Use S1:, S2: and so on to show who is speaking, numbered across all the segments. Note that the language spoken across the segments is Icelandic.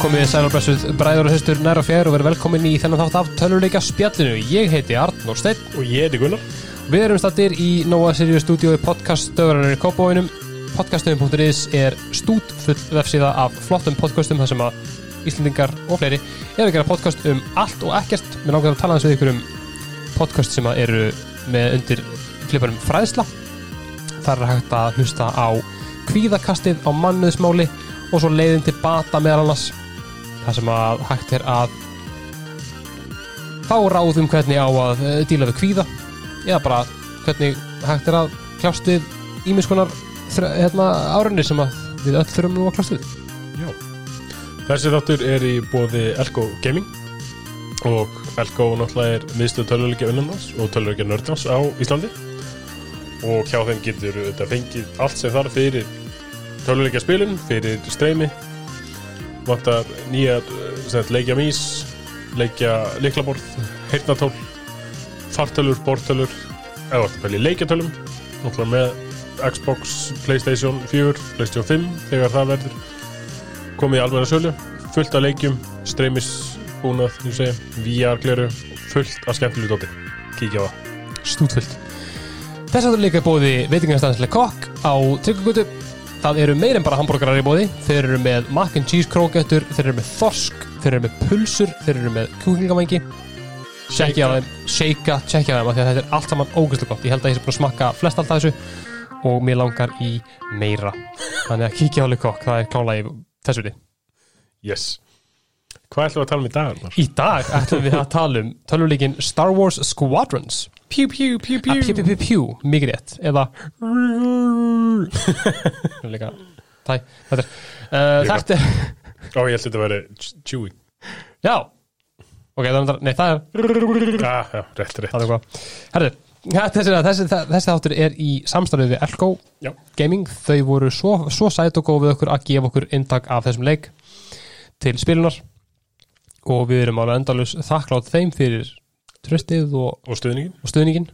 S1: komið sæl og blessuð bræður og sýstur nær og fjær og verið velkomin í þennan þátt af töluleika spjallinu. Ég heiti Arnór Steinn,
S2: Og ég heiti Gunnar
S1: við erum stattir í Nóa Sirius stúdíói podcaststöðurinnar í Kópavóinum. Podcaststöðun.is er stút full vefsíða af flottum podcastum þar sem að Íslandingar og fleiri eru að gera podcast um allt og ekkert. Mér langar að tala aðeins við ykkur um podcast sem að eru með undir kliparum fræðsla. Þar er hægt að hlusta á kvíðakastið á mannuðsmáli og svo leiðin til bata meðal annars þar sem að hægt er að fá ráð um hvernig á að eh, díla við kvíða eða bara hvernig hægt er að kljást við ímiskonar hérna, árunni sem að við öll þurfum nú að kljást við
S2: Já Þessi þáttur er í bóði Elko Gaming og Elko náttúrulega er miðstöð töluleikja vinnandans og töluleikja nördans á Íslandi og hjá þeim getur þetta fengið allt sem þarf fyrir töluleikja spilun, fyrir streymi vantar nýjar eh, sem sagt, leikja mís leikja liklaborð, heyrnatól fartölur, bortölur eða vartu pæli leikjatölum náttúrulega með Xbox, Playstation 4, Playstation 5 þegar það verður komið í almenna sölu fullt af leikjum, streymisbúnað ég segja, VR-gleru fullt af skemmtilegu dóti, kíkja á það
S1: stútfullt þess að það er líka bóði veitingastanslega kokk á Tryggugötu það eru meir en bara hambúrgarar í bóði þeir eru með mac and cheese krókettur þeir eru með þorsk, þeir eru með pulsur þeir eru með kjúklingamangi tjekkja á þeim, shakea, tjekkja á þeim af því að þetta er allt saman ógæslega gott ég held að ég sé búin að smakka flest allt af þessu og mér langar í meira þannig að kíkja á Le Coq, það er klála í þessu viti
S2: yes hvað ætlum við að tala um í dag? Arnar?
S1: Í dag ætlum við að tala um tölvuleikin Star Wars Squadrons Ah,
S2: Pjú, pjú, pjú,
S1: Að Pjú, pjú, pjú, pjú, mikið rétt Eða Líka, tæ, þetta er uh,
S2: Líka.
S1: Þetta er,
S2: Ó, ég held þetta að vera Chewie
S1: já Ok, það er, reyndar- nei, það er
S2: ah, já, rétt, rétt
S1: Það er hvað Herðu, ja, þessi, þessi, þessi þáttur er í samstarfið við Elko
S2: já,
S1: Gaming Þau voru svo, svo sæt og góð við okkur að gefa okkur inntak af þessum leik til spilunar og við erum alveg endalus þakklátt þeim fyrir tröstið og,
S2: og stuðningin
S1: og stuðningin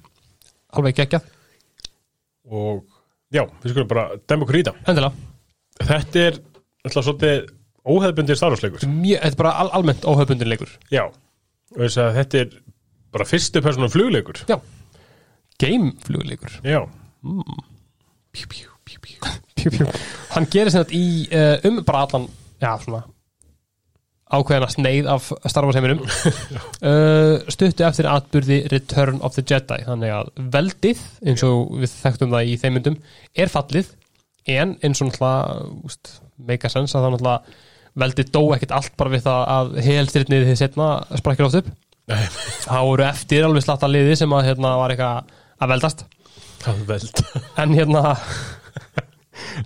S1: alveg geggjað,
S2: og já, við skulum bara dæma okkur í það
S1: endilega
S2: þetta er alltaf svolítið óhefbundir starfsleikur
S1: Mjö, þetta er bara al almennt óhauðbundin leikur
S2: já, og þess að þetta er bara fyrstu persónum flugleikur
S1: Já Gameflugleikur
S2: já,
S1: Pjú, pjú, pjú, pjú Pjú, pjú Hann gerir sem þetta í uh, um bara allan Já, svona ákveðina sneið af Star Wars heiminum uh, stuttu eftir atburði Return of the Jedi þannig að veldið eins og við þekktum það í þeimundum er fallið en eins og náttúrulega úst, make a sense að það náttúrulega veldið dó ekkert allt bara við það að helstyrnið þið setna sprakkir oft upp
S2: Nei.
S1: þá voru eftir alveg slatta liði sem að hérna var eitthvað að veldast
S2: það er veld
S1: en hérna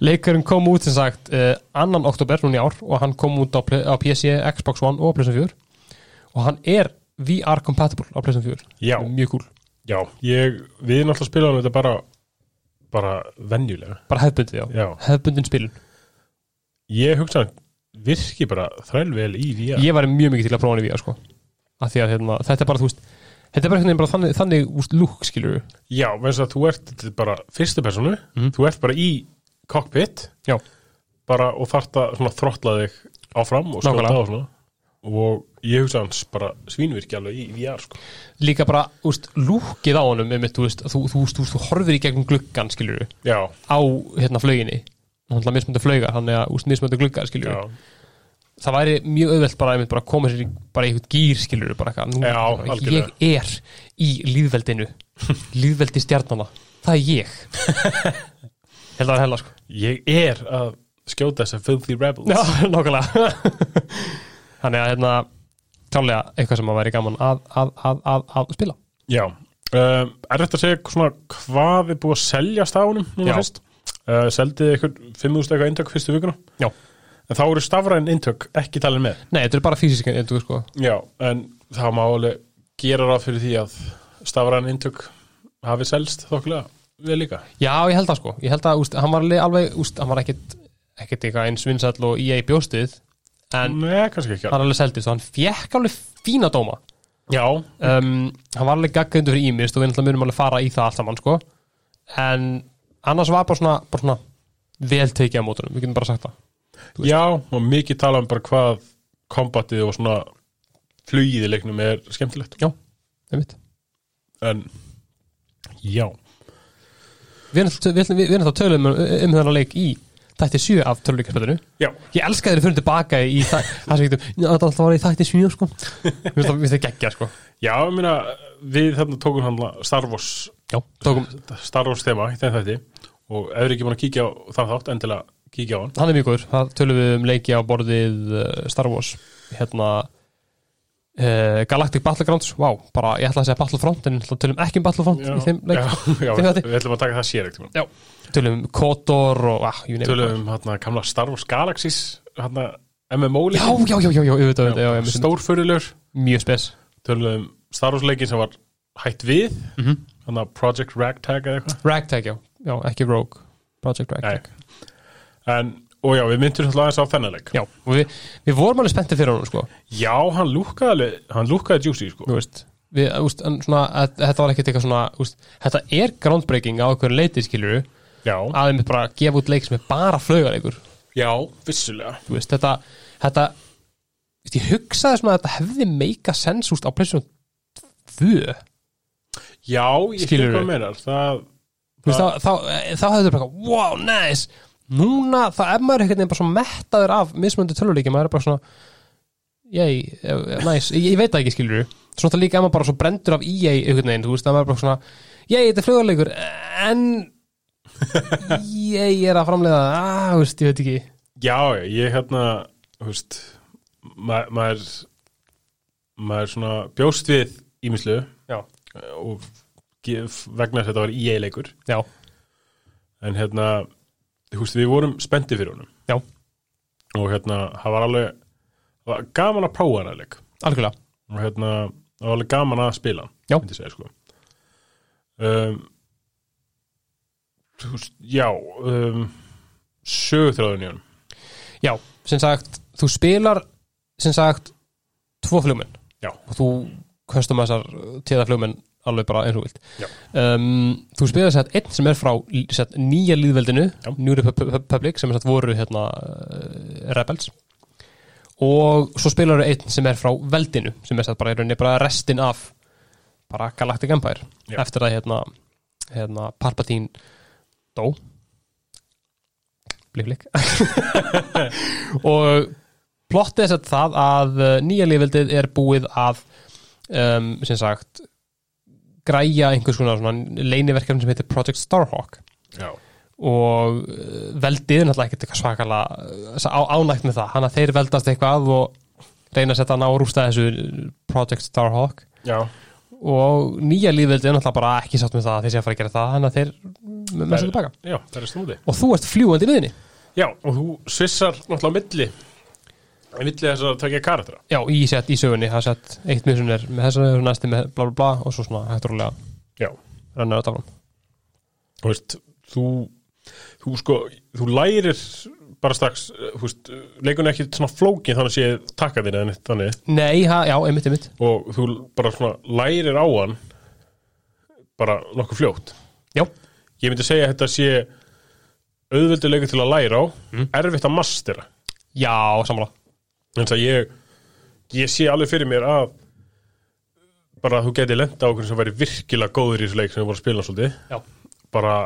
S1: leikurinn kom út sem sagt uh, annan oktober núna í ár og hann kom út á, Play- á PC, Xbox One og PlayStation 4 og hann er VR compatible á PlayStation 4
S2: Já.
S1: mjög cool,
S2: Já, ég, við náttúrulega spilaðum þetta bara bara venjulega
S1: bara hefbundið já.
S2: Já,
S1: hefbundin spilun,
S2: ég hugsa hann virki bara þrælvel í VR
S1: ég var mjög mikið til að prófa hann í VR sko, af því að hérna, þetta er bara þú veist, þetta er bara, einhvern veginn bara þannig, þannig úst, lúk skilur við,
S2: Já, veist að þú ert þetta er bara fyrstu personu, þú ert bara í cockpit
S1: Mhm. já,
S2: bara og þart að svona þrottla þig áfram og skjóta
S1: Nákvæmlega.
S2: á svona og ég hugsa hans bara svínvirki alveg í VR sko.
S1: líka bara úst, lúkið á honum, einmitt, þú veist, þú, þú, þú, þú, þú horfir í gegnum gluggan skilur við,
S2: Já,
S1: á hérna flauginni, hann er mismöndu flaugar hann er mismöndu gluggar skilur
S2: já,
S1: við það væri mjög auðvelt bara, einmitt, bara að koma sér í bara í eitthvað gýr skilur bara eitthvað, nú,
S2: Já,
S1: bara,
S2: algjörlega.
S1: ég er í líðveldinu líðveldi stjarnana, það er ég held að það er hella sko
S2: Ég er að skjóta þess að filthy rebels
S1: já, nákvæmlega þannig að hérna klálega eitthvað sem að væri gaman að, að, að, að, að spila
S2: Já, um, er þetta að segja svona hvað er búið að seljast á honum núna
S1: Já.
S2: fyrst? Uh, seldið ykkur 5.000 eitthvað eintök fyrstu vikuna?
S1: Já.
S2: En þá eru stafræn eintök ekki talin með?
S1: nei, þetta er bara fysisk en þú sko
S2: Já, en það má alveg gera ráð fyrir því að stafræn eintök hafi selst þokkulega við líka.
S1: já, ég held það sko, ég held að úst, hann var alveg- alveg, úst, hann var ekkit ekkit eitthvað eins vinsall og E EA bjóstið en
S2: Nei, kannski ekki.
S1: hann alveg seldist og hann fekk alveg fína dóma
S2: Já,
S1: um, hann var alveg gaggrindur fyrir ímist og við náttúrulega munum alveg fara í það allt saman sko. en annars var bara svona, bara svona vel tekið á mótunum, við getum bara sagt það
S2: já, og mikið tala um bara hvað kombatið og svona flugið í leiknum er skemmtilegt
S1: Já, einmitt
S2: en já,
S1: Við erum þá- við ætlum- við- við erum þá tölum um, um þennan leik í þætti 7 af töluleikaspöldinu
S2: já,
S1: Ég elska þeir fyrir tilbaka í þa- það sem getum "Já, Það var í þætti 7 sko Mér finnst það- mér finnst það geggja sko
S2: já, ég meina við þarna tókum hann Star Wars
S1: Já, tókum,
S2: Star Wars þema í þeim þætti og ef er ekki búin að kíkja á þann þátt endilega kíkja á hann
S1: hann er mjög góður Það tölum við um leiki á borðið uh, Star Wars Hérna uh, Galactic Battlegrounds Vá, bara ég ætla að segja Battlefront En þá tölum ekki um Battlefront
S2: já,
S1: í þeim leik
S2: já, já,
S1: þeim þætti.
S2: við ætlum að taka það sko. sér ekkert
S1: Já, tölum um Kotor og ah, you name it.
S2: tölum um hann gamla Star Wars Galaxies hann MMO
S1: Já,
S2: leikin
S1: já, já, já, já, auðvitað, auðvitað, já, já, já
S2: stórfyrirlegur
S1: Mjög spes
S2: tölum um Star Wars leikin sem var hætt við
S1: mm
S2: hann Project Ragtag eða eitthvað
S1: Ragtag, já, já, ekki Rogue Project Ragtag
S2: en, og já, við myndum alltaf aðeins á þennan leik
S1: Já, og við, við vorum alveg spenntið fyrir honum, sko
S2: já, hann lúkkaði alveg- hann lúkkaði juicy sko.
S1: Þú veist, við, úst, en svona að, Þetta var ekkert eitthvað svona, úst, þetta er groundbreaking á einhverju leiti, skilur
S2: já,
S1: að þeim bara gefa út leik sem er bara flaugaleikur
S2: já, vissulega
S1: Þú veist, þetta, þetta veist, ég hugsaði svona að þetta hefði meika sens úst á plessum þau
S2: já, ég skilur
S1: Skilurðu?
S2: hvað meinar það,
S1: Þú veist, þá, þá, þá hefði þetta bara eitthvað, wow, nice núna, þá er maður einhvern veginn bara svo mettaður af mismöndu töluleiki, maður er bara svona yay, eh, nice ég, ég veit það ekki skilur svona það líka er maður bara svo brendur af EA einhvern veginn, þú veist, það maður er bara svona yay, þetta er flugarleikur, en yay, ég er að framlega ah, þú veist, ég veit ekki
S2: Já, já, ég hérna, þú veist, ma maður, maður svona bjóst við ímislu
S1: já,
S2: og gef, vegna þess að þetta var EA leikur,
S1: já,
S2: en hérna, þú veist, við vorum spendi fyrir honum
S1: já,
S2: og hérna, það var alveg það var gaman að prófa hann að leik
S1: algjörlega
S2: og hérna, það var alveg gaman að spila hann,
S1: Já.
S2: myndi ég segja, sko. Um, þú veist, já, um, sögutráðun í honum,
S1: já, sem sagt, þú spilar sem sagt, tvo flugmenn
S2: já,
S1: og þú köstum þessar tíða flugmenn alveg bara eins og vilt
S2: Já.
S1: um, þú spilaði sett einn sem er frá sett, nýja líðveldinu,
S2: Já.
S1: New Republic sem sett voru hérna eh, Rebels og svo spilaðu einn sem er frá veldinu sem er sett bara, í rauninni bara restin af bara Galactic Empire
S2: Já.
S1: eftir að hérna, hérna Palpatine dó blik blik og plottið er sett það að eh, nýja lífveldið er búið að um, sem sagt græja einhvers konar svona leiniverkefni sem heitir Project Starhawk
S2: já,
S1: og eh, veldið er náttúrulega ekkert eitthvað svakalega eh, á, ánægt með það, hann að þeir veldast eitthvað og reyna að setja hann á að rústa þessu Project Starhawk
S2: já.
S1: og nýja lífveldið er náttúrulega bara ekki sátt með það að þeir sé að fara að gera það, hann að þeir með sér tilbaka.
S2: Já, það er snúti.
S1: Og þú ert fljúandi í miðinni,
S2: Já, og þú svissar náttúrulega á milli á milli þess að taka karatera
S1: já, í sett í sögunni, það er sett eitt miðsun er með þess að næsti með bla bla bla og svo svona hægt rúlega
S2: Já,
S1: rennar þetta fram.
S2: þú veist, þú þú sko, þú lærir bara strax, eh, þú veist, leikun er ekki svona flókin þannig að sé takka þín eða neitt þannig
S1: Nei, ha, já, einmitt, einmitt.
S2: og þú bara svona lærir á hann bara nokkuð fljótt
S1: Já,
S2: Ég myndi segja að þetta sé auðvöldu leikur til að læra á erfitt að mastera
S1: já, sammála.
S2: þannig að ég ég sé alveg fyrir mér að bara að þú geti lenda á okkur sem væri virkilega góður í þessu leik sem við vorum að spila svolítið
S1: Já.
S2: bara,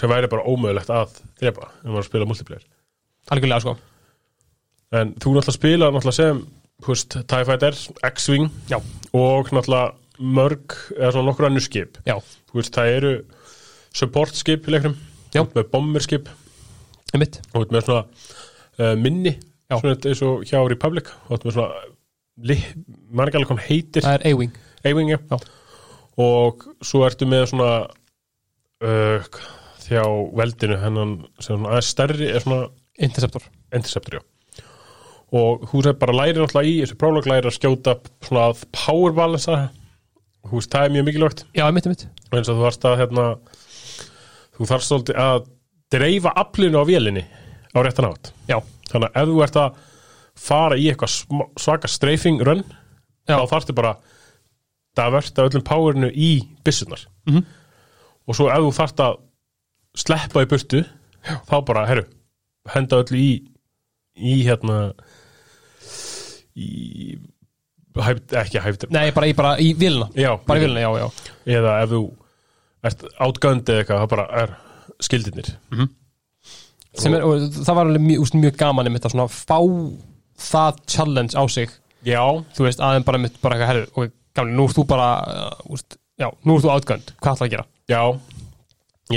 S2: sem væri bara ómögulegt að drepa ef við vorum að spila multiplayer
S1: Algjörlega, sko.
S2: en þú náttúrulega spila náttúrulega sem þú veist, TIE Fighter, X-Wing
S1: Já,
S2: og náttúrulega mörg eða svona nokkur annur skip
S1: já,
S2: þú veist, það eru support skip í leiknum
S1: Já.
S2: Þú ert með bomber skip
S1: einmitt.
S2: og þú ert með svona uh, minni
S1: Já.
S2: svona eins og hjá Republic og þú ert með svona li, margarlega kom heitir
S1: Það er A-Wing.
S2: Eyvingi
S1: Já.
S2: og svo ertu með svona uh, þjá veldinu hennan sem er svona aðeins stærri er svona
S1: Interceptor.
S2: interceptor já og þú sér bara læri náttúrulega í þessu próflag læri að skjóta svona að powerbalansa þú veist það er mjög mikilvægt
S1: Já, einmitt, einmitt.
S2: eins og þú þarfst að hérna þú þarfst svolítið að dreifa aflinu á vélinni á réttan átt
S1: Já,
S2: þannig að ef þú ert að fara í eitthvað sm- svaka strafing run
S1: Já.
S2: þá þarftu bara að verta öllum powerinu í byssunar
S1: Mhm.
S2: og svo ef þú þarft að sleppa í burtu þá bara, herru, henda öllu í í hérna í, hæf, ekki hæftir
S1: Nei, bara í, bara í vilna
S2: já,
S1: Bara í vilna, já, já
S2: eða ef þú ert átgönd eða eitthvað, það bara er skildirnir
S1: Sem er, og Það var alveg mjög, úst, mjög gaman einmitt að svona fá það challenge á sig
S2: já,
S1: Þú veist, aðeins bara mitt bara eitthvað herri Og gamli, nú ert þú bara uh, úst, Já, nú ert þú átgönd, hvað ætlaðu að gera?
S2: já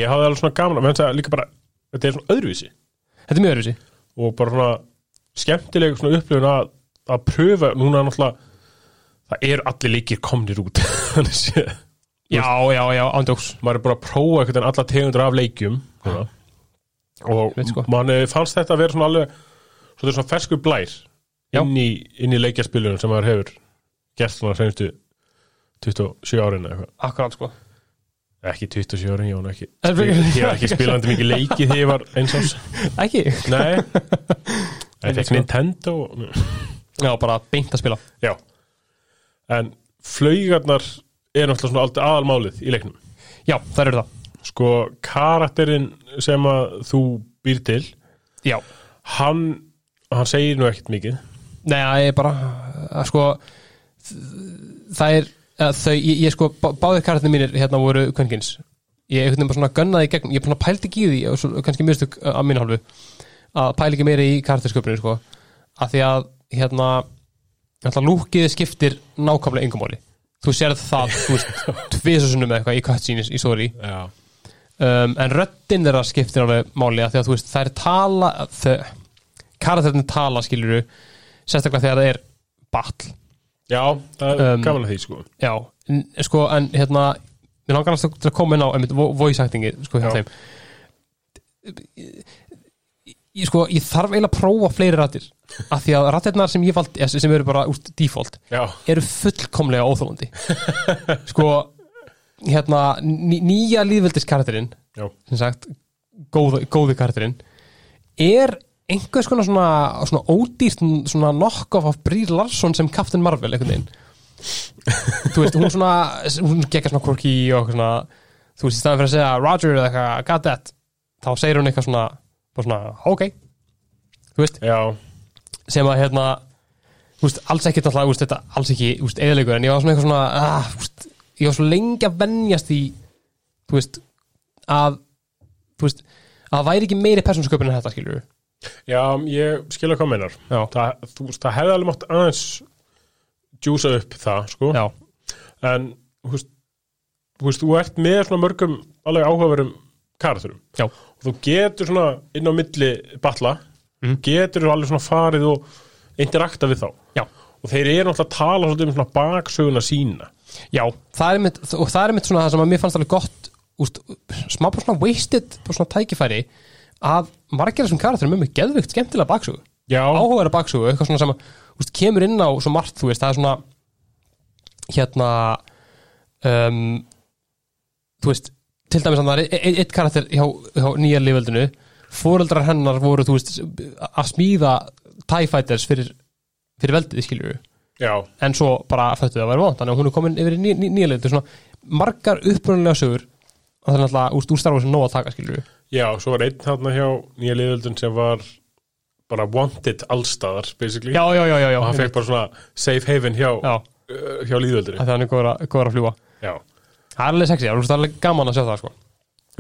S2: ég hafði alveg svona gaman, menn það líka bara þetta er svona öðruvísi
S1: Þetta er mjög öðruvísi
S2: og bara svona skemmtileg svona upplifun að, að pröfa núna náttúrulega það eru allir líkir komnir út þannig séð
S1: Já, já, já, ándjóks
S2: maður er bara að prófa einhvern veginn alla tegundur af leikjum svona. og
S1: Veit sko.
S2: manni fannst þetta að vera svona alveg svona, svona ferskur blær
S1: Já.
S2: inn í, inn í leikjaspilunum sem maður hefur gert svona senstu 27 árin eða eitthvað
S1: Akkurát, sko
S2: ekki 27 árin, ég var nú ekki
S1: En fyrir-
S2: ég var ekki spilandi mikið leiki þegar ég var eins og
S1: Ekki?
S2: nei, ég
S1: sko.
S2: fekk Nintendo
S1: Já, bara beint að spila
S2: já en flaugarnar er náttúrulega svona aldrei aðalmálið í leiknum
S1: Já, það eru það
S2: sko karakterinn sem að þú býr til
S1: Já,
S2: hann, hann segir nú ekkert mikið
S1: nei, það er bara að, sko, það er að þau, ég, ég sko, bá- báðir kartinni mínir hérna voru kvöngins ég einhvern veginn bara svona gönnaði í gegn ég bara pældi ekki í því, og svo, kannski mistök á mínu hálfu að pæli ekki meira í karaktersköpunni sko, að því að hérna, hérna lúkið skiptir nákvæmlega yngum áli þú sérð það, þú veist, tvisasunum eða eitthvað í cutscenes í story
S2: já,
S1: um, en röddinn þeirra skiptir alveg máli að því að þú veist þær tala þau, karaternir tala skilur sérstaklega þegar það er batl
S2: já það er
S1: Um,
S2: gaman að því sko
S1: já, en, sko en hérna mér langar að til að koma inn á einmitt, vo- voice actingi sko hjá
S2: Já.
S1: þeim ég, sko, ég þarf eiginlega að prófa fleiri rættir af því að rættirnar sem ég vald eh, sem eru bara úst default
S2: já,
S1: eru fullkomlega óþólandi sko hérna, ný, nýja líðvildiskarakterinn
S2: já,
S1: sem sagt, góð, góði karakterinn er einhvers konar svona, svona ódýrt svona knockoff af Brír Larsson sem Captain Marvel einhvern veginn þú veist, hún svona hún gekka svona quirky og eitthvað svona þú veist, í staðan fyrir að segja Roger eða eitthvað, got that þá segir hún eitthvað svona, bara svona ok, þú veist
S2: já,
S1: sem að hérna þú veist, alls ekki alltaf, veist, þetta alls ekki þú veist, eðalegur, en ég var svona eitthvað svona ah, þú veist, ég var svo lengi að venjast í þú veist að þú veist, að það væri ekki meiri persónsköpun en þetta, skilur
S2: já ég skilja hvað meinar
S1: Já.
S2: það, þú, veist, það hefði alveg mátt aðeins djúsa upp það sko
S1: já,
S2: en þú veist, þú veist, þú ert með svona mörgum alveg áhugaverum karakterum
S1: já,
S2: og þú getur svona inn á milli batla,
S1: Mhm.
S2: getur alveg svona farið og interakta við þá
S1: já,
S2: og þeir eru náttúrulega að tala svolítið um svona baksöguna sína
S1: já það er mitt, og það er mitt svona það sem að mér fannst alveg gott úst, smá bara svona wasted bara svona tækifæri að margir af þessum karakterum er með geðvikt skemmtilega baksögu
S2: já,
S1: áhugaverða baksögu, eitthvað svona sem úst, kemur inn á svo margt, þú veist, það er svona hérna um, þú veist til dæmis að það er e- e- eitt karakter hjá, hjá nýja lífveldinu fóreldrar hennar voru, þú veist, að smíða TIE Fighters fyrir, fyrir veldið, skilur
S2: já,
S1: en svo bara föttu það að vera vond þannig að hún er komin yfir í ný, ný, nýja lífveldu svona margar upprunalega sögur og það er náttúrulega úr, úr starfa sem nóg að taka, skilur
S2: Já, svo var einn þarna hjá nýja liðöldun sem var bara wanted allstaðar, basically
S1: já, já, já, já, já,
S2: og hann
S1: einmitt.
S2: fekk bara svona safe haven hjá,
S1: já
S2: uh, hjá liðöldunni
S1: að það er góður að, góður að fljúa
S2: Já.
S1: Það er alveg sexy, það er alveg gaman að sjá það sko.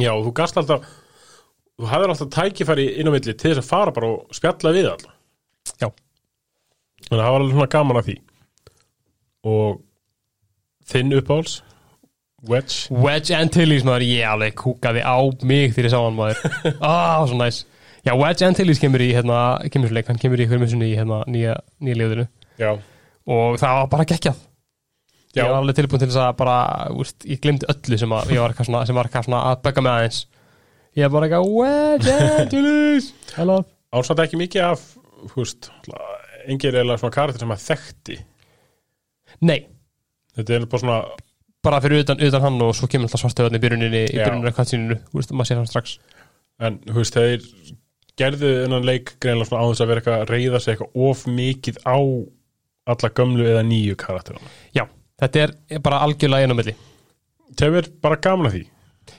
S2: Já, og þú gast alltaf þú hefur alltaf tækifæri inn á milli til þess að fara bara og spjalla við alltaf
S1: Já,
S2: Þannig að það var alveg svona gaman að því og þinn uppáhals Wedge
S1: Wedge Antilles maður, ég alveg kúkaði á mig þegar ég sá hann maður Ah, svo næs Já, Wedge Antilles kemur í, hérna, kemur svo leik, hann kemur í hverjum sinni í hérna, nýja, nýja liðinu
S2: Já,
S1: Og það var bara geggjað
S2: já,
S1: Ég var alveg tilbúin til þess að bara, úst, ég glemdi öllu sem, að, ég var, eitthvað svona, sem var eitthvað svona að bögga með aðeins Ég er bara eitthvað, Wedge Antilles Hello
S2: ásætt ekki mikið af húst, engin er eiginlega svona karakter sem að þekkti
S1: Nei,
S2: Þetta er bara svona
S1: bara fyrir utan, utan hann og svo kemur alltaf svartöðan í byrjuninni, í
S2: Já.
S1: byrjuninni að katsíninu Úst, maður sér hann strax
S2: en þú veist, þeir gerðu þennan leik greinlega svona á þess að vera eitthvað að reyða sig eitthvað of mikið á alla gömlu eða nýju karakterana
S1: Já, þetta er bara algjörlega einamilli
S2: þeim er bara gaman að því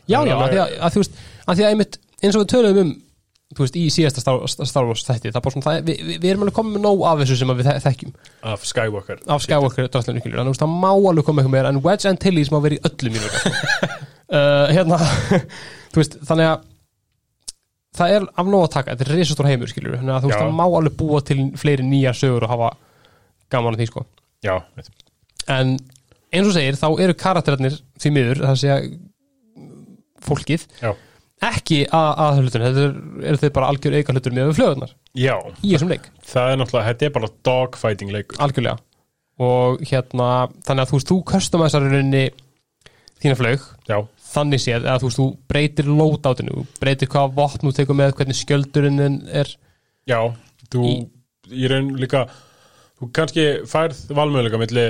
S1: Já, já,
S2: Þannig að-
S1: að því að, að þú veist, að því að einmitt eins og við töluðum um þú veist, í síðasta Star, Star Wars þætti það er bara svona, það, við, við- við erum alveg komið með nóg af þessu sem að við þe- þekkjum,
S2: af Skywalker
S1: af Skywalker drastlunum ykkur, þannig að það má alveg koma eitthvað meira en Wedge Antilles má vera í öllum mínum uh, hérna þú veist, þannig að það er af nóg að taka, þetta er risastór heimur skilur, þannig að þú veist,
S2: Já.
S1: það má alveg búa til fleiri nýjar sögur og hafa gaman að því sko
S2: já, veit.
S1: en eins og segir þá eru karakterarnir því miður, það sé að fólkið,
S2: já,
S1: ekki að, að hlutun, þetta er, eru þeir bara algjör eiga hlutur með flöðunar
S2: já,
S1: í þessum leik,
S2: það er náttúrulega þetta er bara dogfighting leikur
S1: algjörlega og hérna, þannig að þú veist, þú customisar í rauninni þína flög
S2: já,
S1: þannig séð, eða þú veist, þú breytir loadoutinu, þú breytir hvaða vopn þú tekur með, hvernig skjöldurinn er
S2: já, þú í,
S1: Í-
S2: raun líka þú kannski færð valmöðuleika milli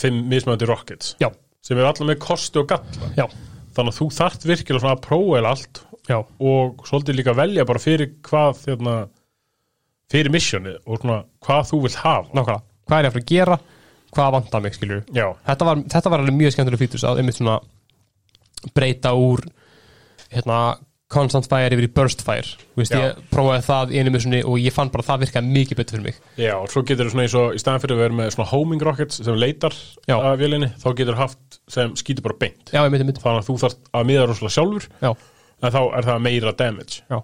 S2: fimm mismöndi rockets
S1: já,
S2: sem er allar með kosti og galla
S1: já,
S2: þannig að þú þarft virkilega svona að prófa eða allt
S1: já
S2: og svolítið líka velja bara fyrir hvað þérna, fyrir missionið og svona hvað þú vilt hafa
S1: nákvæmlega, hvað er ég að fara að gera hvað vantar mig, skilur
S2: já,
S1: þetta var, þetta var alveg mjög skemmtileg fítus að einmitt svona breyta úr hérna constant fire yfir í burst fire Þú veist,
S2: Já.
S1: ég prófaði það í einu missunni og ég fann bara að það virkaði mikið betur fyrir mig
S2: já, og svo getur þú svona eins og í staðan fyrir að vera með svona homing rockets sem leitar
S1: Já.
S2: að vélinni, þá getur þú haft sem skýtur bara beint,
S1: já, ég myndi, myndi,
S2: þannig að þú þarft að miða rosalega sjálfur,
S1: já,
S2: en þá er það meira damage,
S1: já,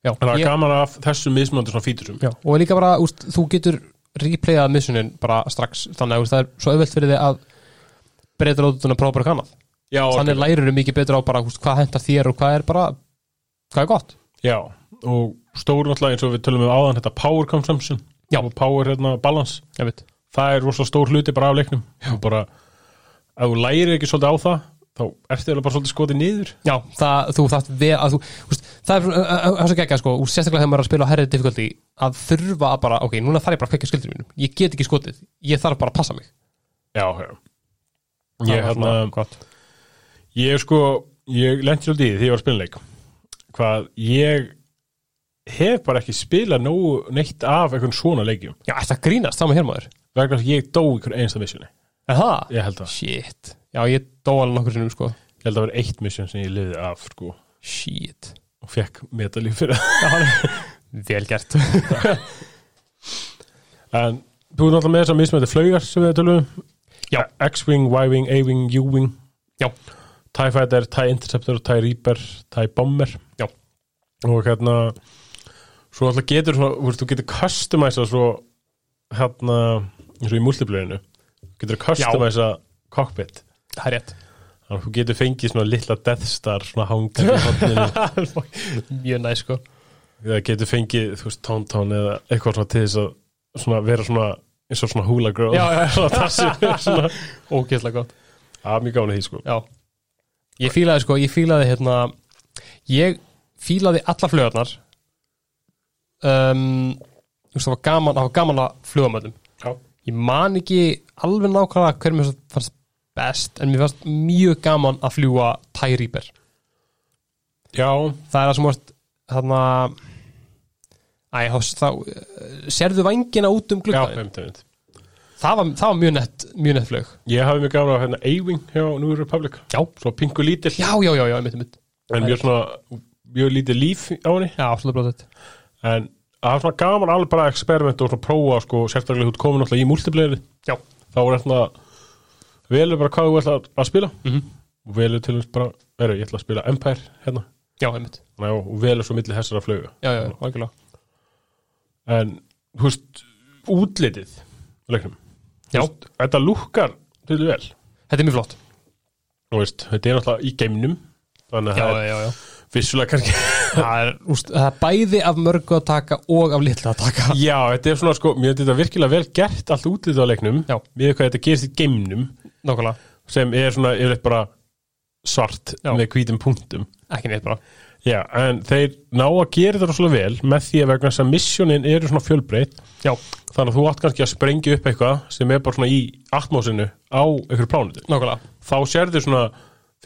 S1: já,
S2: en það er
S1: ég,
S2: gaman af þessum mismöndu svona fíturum,
S1: já og líka bara, úst, þú getur replayað missunin bara strax þannig að úst, það er svo auðvelt fyrir þig að breyta lótutun að prófa bara kannað
S2: já,
S1: þannig lærir þau mikið betur á bara úst, hvað hentar þér og hvað er bara hvað er gott
S2: já, og stóru náttúrulega eins og við tölum um áðan þetta power consumption
S1: Já.
S2: og power hérna, balance
S1: ég veit,
S2: það er rosalega stór hluti bara af leiknum og bara, ef þú lærir ekki svolítið á það þá ertu eiginlega bara svolítið skotið niður
S1: Já, það, þú þátt vel að þú, úst, það er svona- það er svo geggjað sko, úr sérstaklega þegar maður er að spila á herrið difficulty að þurfa að bara, ok, núna þarf ég bara að kvekja skildur mínum, ég get ekki skotið, ég þarf bara að passa mig.
S2: já, já
S1: Það
S2: ég,
S1: var
S2: hérna,
S1: svona gott.
S2: ég sko ég lendi svolítið í því því ég var að spila leik hvað ég hef bara ekki spilað nógu neitt af einhvern svona leikjum
S1: Já, þetta grínast, það með hér maður.
S2: vegna þess að ég dó í einhvern einsta misjunni
S1: Er það?
S2: ég held að,
S1: Shit. Já, ég dó alveg nokkur sinnum sko.
S2: ég held að vera eitt misjun sem ég liði af sko
S1: Shit.
S2: og fekk metalíf fyrir það.
S1: Vel gert.
S2: en þú er náttúrulega með þess að mismöndi flaugar sem við tölum um.
S1: Já.
S2: X-Wing, Y-Wing, A-Wing, U-Wing
S1: Já,
S2: TIE Fighter, TIE Interceptor, TIE Reaper, TIE Bomber
S1: Já.
S2: og hérna svo alltaf getur svona, þú veist, þú getur customize svo hérna, eins og í multiplayerinu getur customize cockpit
S1: það er rétt.
S2: þannig að þú getur fengið svona litla Death Star svona hangar í hodninu
S1: Mjög næ sko.
S2: eða getur fengið, þú veist, Tonton eða eitthvað svona til þess að svona, vera svona eins og svona hula girl
S1: Já, já.
S2: svona tassi svona.
S1: Ógeðslega gott.
S2: að mjög gána því sko
S1: Já Ég fílaði sko, ég fílaði hérna Ég fílaði alla flögarnar um, Þú veist, það var gaman Það var gaman að flugamöndum
S2: já,
S1: Ég man ekki alveg nákvæmlega hver mér fannst best En mér fannst mjög gaman að fljúga Tyrýber
S2: já,
S1: Það er það sem varst þarna Æ, þá, þá eh, sérðu vængina út um
S2: já,
S1: gluggaðin
S2: einmitt, einmitt.
S1: það, var- það var mjög nett, mjög nett flög
S2: ég hafi mjög gána á hérna A-Wing hjá New Republic
S1: Já,
S2: svo pingu lítil
S1: já, já, já, já, mitt, mitt
S2: en mjög svona mjög lítið líf á henni
S1: Já, svolítið blóðið
S2: en það var svona gaman alveg bara eksperiment og svona prófa sko sérstaklega þú ert komin alltaf í multiplayeri
S1: Já,
S2: þá er þetta velur bara hvað þú ætlar að spila
S1: Mhm.
S2: og velur til þess bara veru, ég ætla að spila Empire hérna
S1: já, mitt
S2: Ná, og velur svo milli þessara flögu
S1: Já, já, já, algjörlega
S2: en þú veist útlitið á leiknum
S1: Já.
S2: Þú veist, þetta lúkkar til vel
S1: Þetta er mjög flott
S2: Þú veist, þetta er náttúrulega í geimnum þannig að það er
S1: já, já.
S2: vissulega kannski
S1: Það, er, úst, það er bæði af mörgu að taka og af litla að taka
S2: Já, þetta er svona sko, mér finnst þetta virkilega vel gert allt út í þetta á leiknum
S1: Já.
S2: við hvað þetta gerist í geimnum
S1: Nákvæmlega,
S2: sem er svona yfirleitt bara svart
S1: Já.
S2: með hvítum punktum
S1: ekki neitt bara
S2: Já, en þeir ná að gera þetta svona vel með því að vegna þess að missionin eru svona fjölbreytt
S1: Já,
S2: þannig að þú átt kannski að sprengja upp eitthvað sem er bara svona í atmósinu á einhverju plánutu
S1: nákvæmlega
S2: þá sérðu svona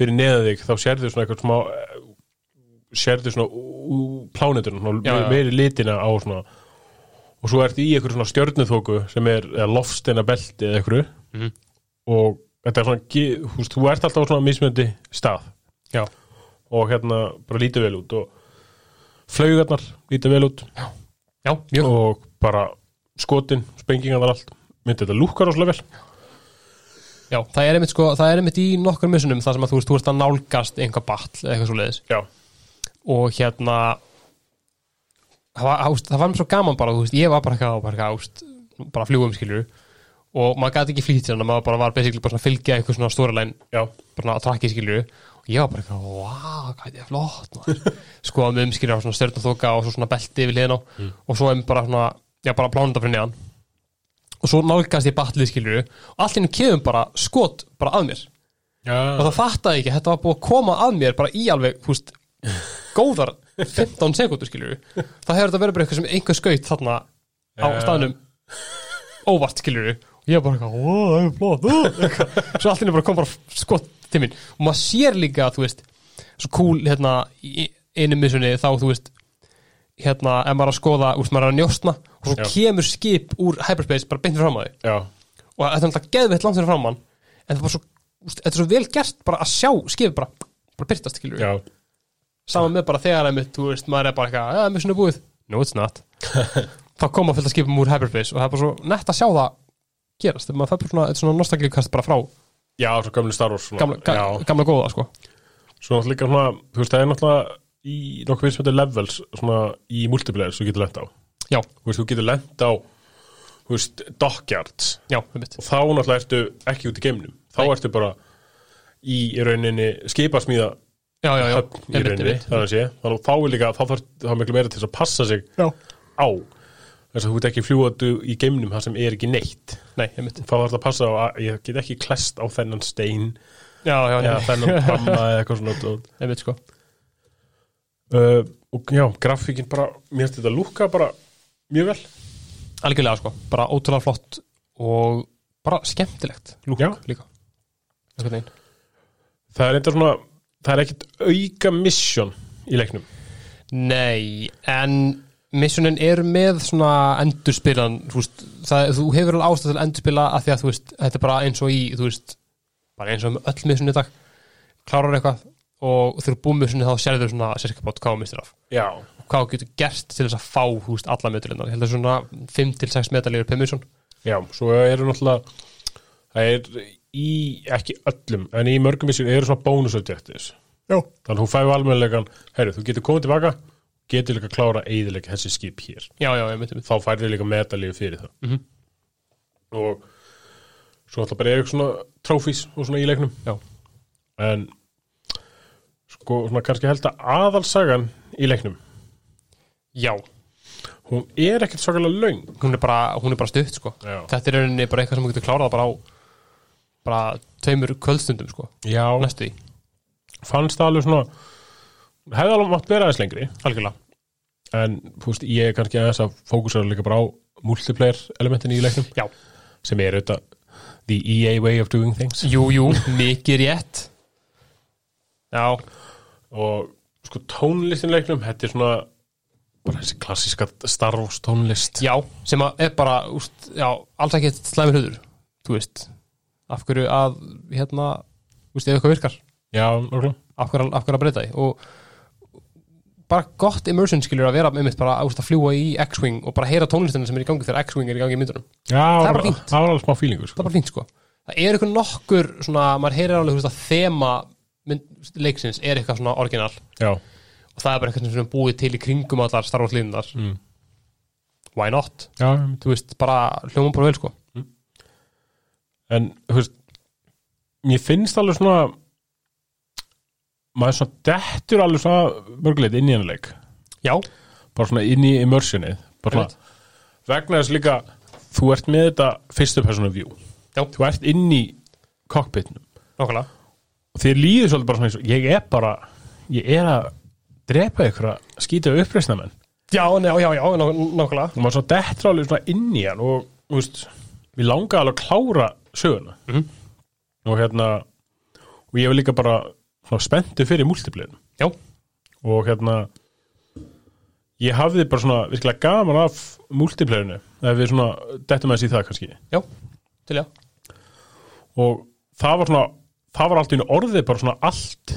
S2: fyrir neða þig þá sérðu svona eitthvað smá eh, sérðu svona ú- plánetuna svona
S1: Já, já.
S2: meiri litina á svona og svo ertu í eitthvað svona stjörnuþóku sem er eða lofsteina belti eða eitthvað
S1: Mhm.
S2: og þetta er svona ge- þú veist, þú ert alltaf á svona mismöndi stað
S1: Já,
S2: og hérna bara lítið vel út og flaugarnar lítið vel út
S1: Já, mjög
S2: og bara skotin, spengingarnar allt myndi þetta lúkka rosalega vel
S1: Já, það er einmitt, sko, það er einmitt í nokkur missunum þar sem að þú veist, þú ert að nálgast einhver batl eða eitthvað svo leiðis
S2: Já,
S1: og hérna það var, ást, það var mér svo gaman bara, þú veist, ég var bara eitthvað og bara eitthvað ást, bara fljúum skilur og maður gæti ekki flýtt sérna, maður bara var basically bara svona að fylgja eitthvað svona storyline
S2: já,
S1: bara að trakki skilur og ég var bara eitthvað, wow, hvað þetta er flott maður." skoðum um, við umskilur á svona stjörn og þoka og svo svona belti yfir hliðin á
S2: Mm.
S1: og svo erum bara svona, já bara plánunda fyrir neðan og svo nálgast ég batlið skilur og allt innum kefum bara skot bara að mér og
S2: já.
S1: það fattaði ég ekki, þetta var búið að koma að mér bara í alveg, þú veist, góðar 15 sekundur skilur við það hefur þetta verið bara eitthvað sem einhver skaut þarna á
S2: Já.
S1: staðnum óvart skilur við og ég var bara eitthvað, ó, það er blóð ó, eitthvað. svo allt inni bara kom bara skott til mín og maður sér líka, þú veist svo cool, hérna, í einu missunni þá, þú veist hérna, ef maður er að skoða, úr maður er að njóstna og svo
S2: Já.
S1: kemur skip úr hyperspace bara beintur fram að því
S2: já.
S1: og þetta er náttúrulega geðveitt langt fyrir framann en það var svo, úst, þetta er svo vel gert bara að sjá skifið bara, bara byrtast skilur
S2: já.
S1: saman með bara þegar einmitt, þú veist, maður er bara eitthvað, ja, missun er búið, no it's not þá koma fullt að skipum úr hyperspace og það er bara svo nett að sjá það gerast þegar maður það er bara svona, þetta er svona nostalgíkast bara frá
S2: já, svo gamli Star Wars svona.
S1: gamla, ga,
S2: Já,
S1: gamla góða, sko
S2: svo náttúrulega líka svona, þú veist, það er náttúrulega í nokkuð við sem þetta er levels svona í multiplayer sem þú getur lent á
S1: já,
S2: þú veist, þú getur lent á þú veist, dockyards
S1: já, einmitt
S2: og þá náttúrulega ertu ekki út í geimnum þá
S1: Nei.
S2: ertu bara í, í rauninni skipasmíða
S1: já, já, já,
S2: höfn í
S1: einmitt,
S2: rauninni
S1: einmitt
S2: þannig að sé, þannig að þá er líka þá þarf þá er miklu meira til þess að passa sig
S1: já,
S2: á þess að þú veit ekki fljúatu í geimnum það sem er ekki neitt
S1: nei, einmitt
S2: þá þarf það að passa á að ég get ekki klest á þennan stein
S1: já, já,
S2: eða
S1: einmitt,
S2: þennan pamma eða eitthvað svona dót.
S1: einmitt, sko
S2: uh, og já, grafíkin bara mér finnst þetta lúka bara mjög vel
S1: algjörlega, sko, bara ótrúlega flott og bara skemmtilegt lúk
S2: Já.
S1: líka einhvern veginn
S2: það er eitthvað svona, það er ekkit auka mission í leiknum
S1: Nei, en missunin er með svona endurspilan þú, veist, það, þú hefur alveg ástæð til að endurspila af því að þú veist, þetta er bara eins og í þú veist, bara eins og með öll missunin í dag klárar eitthvað og þegar þú eru búið missunin þá sérður svona sérkabátt hvað þú mistir af
S2: já,
S1: og hvað þú getur gert til þess að fá þú veist, alla medalinnar, ég held að svona 5-6 medalíur per missun
S2: já, svo eru náttúrulega það er í, ekki öllum en í mörgum mission eru svona bonus objectives
S1: Já,
S2: þannig að þú fæði almennlegan, herru, þú getur komið tilbaka getur líka að klára eðilega þessi skip hér
S1: já, já, ég myndi
S2: þá færði líka medalíu fyrir það
S1: Mhm.
S2: og svo alltaf bara er eitthvað svona trófís og svona í leiknum
S1: Já,
S2: en sko svona kannski held að aðalsagan í leiknum,
S1: já
S2: hún er ekkert svakalega laung
S1: hún er bara, hún er bara stutt sko.
S2: Já.
S1: þetta er í rauninni bara eitthvað sem þú getur klárað bara á bara tveimur kvöldstundum sko.
S2: Já,
S1: næstu því
S2: fannst það alveg svona hefði alveg mátt vera aðeins lengri
S1: Algjörlega
S2: en þú veist, ég er kannski aðeins að fókusera líka bara á multiplayer elementin í leiknum
S1: Já,
S2: sem er auðvitað the EA way of doing things
S1: jú, jú, mikið rétt Já,
S2: og sko tónlistin í leiknum, þetta er svona bara þessi klassíska Star Wars tónlist
S1: já, sem að er bara úst, já, alls ekki slæmi hlutur þú veist, af hverju að hérna, þú veist, ef eitthvað virkar
S2: Já, okkur
S1: af hverju, af hverju að breyta því og bara gott immersion skilur að vera með mitt bara úst, að fljúa í X-Wing og bara heyra tónlistina sem er í gangi þegar X-Wing er í gangi í myndunum
S2: Já,
S1: var
S2: bara-
S1: fínt.
S2: það var alveg smá fílingur
S1: það
S2: sko.
S1: er bara fínt sko það er eitthvað nokkur svona, maður heyrir alveg þú veist, að þema mynd, leiksins er eitthvað svona orginal
S2: Já,
S1: og það er bara eitthvað sem er búið til í kringum allar starfáslíðunar
S2: Mm.
S1: why not,
S2: já
S1: þú veist, bara hljóma bara vel sko
S2: en þú veist mér finnst alveg svona maður svona dettur alveg svona mörguleit inn í hennar leik
S1: já,
S2: bara svona inn í immersionið bara
S1: Einmitt.
S2: svona, vegna þess líka þú ert með þetta fyrstu personu view
S1: Já.
S2: þú ert inn í cockpitnum
S1: nokkulega
S2: og þér líður svolítið bara svona eins og ég er bara, ég er að drepa ykkur að skýta uppreisnamenn
S1: já, já, já, já, nokkulega
S2: og maður svona dettur alveg svona inn í hann og þú veist, við langaði alveg að klára söguna
S1: Mhm.
S2: og hérna og ég var líka bara svona spenntu fyrir múltipleginu
S1: já,
S2: og hérna ég hafði bara svona virkilega gaman af múltipleginu ef við svona dettum aðeins í það kannski
S1: já, til já
S2: og það var svona það var allt í einu orðið bara svona allt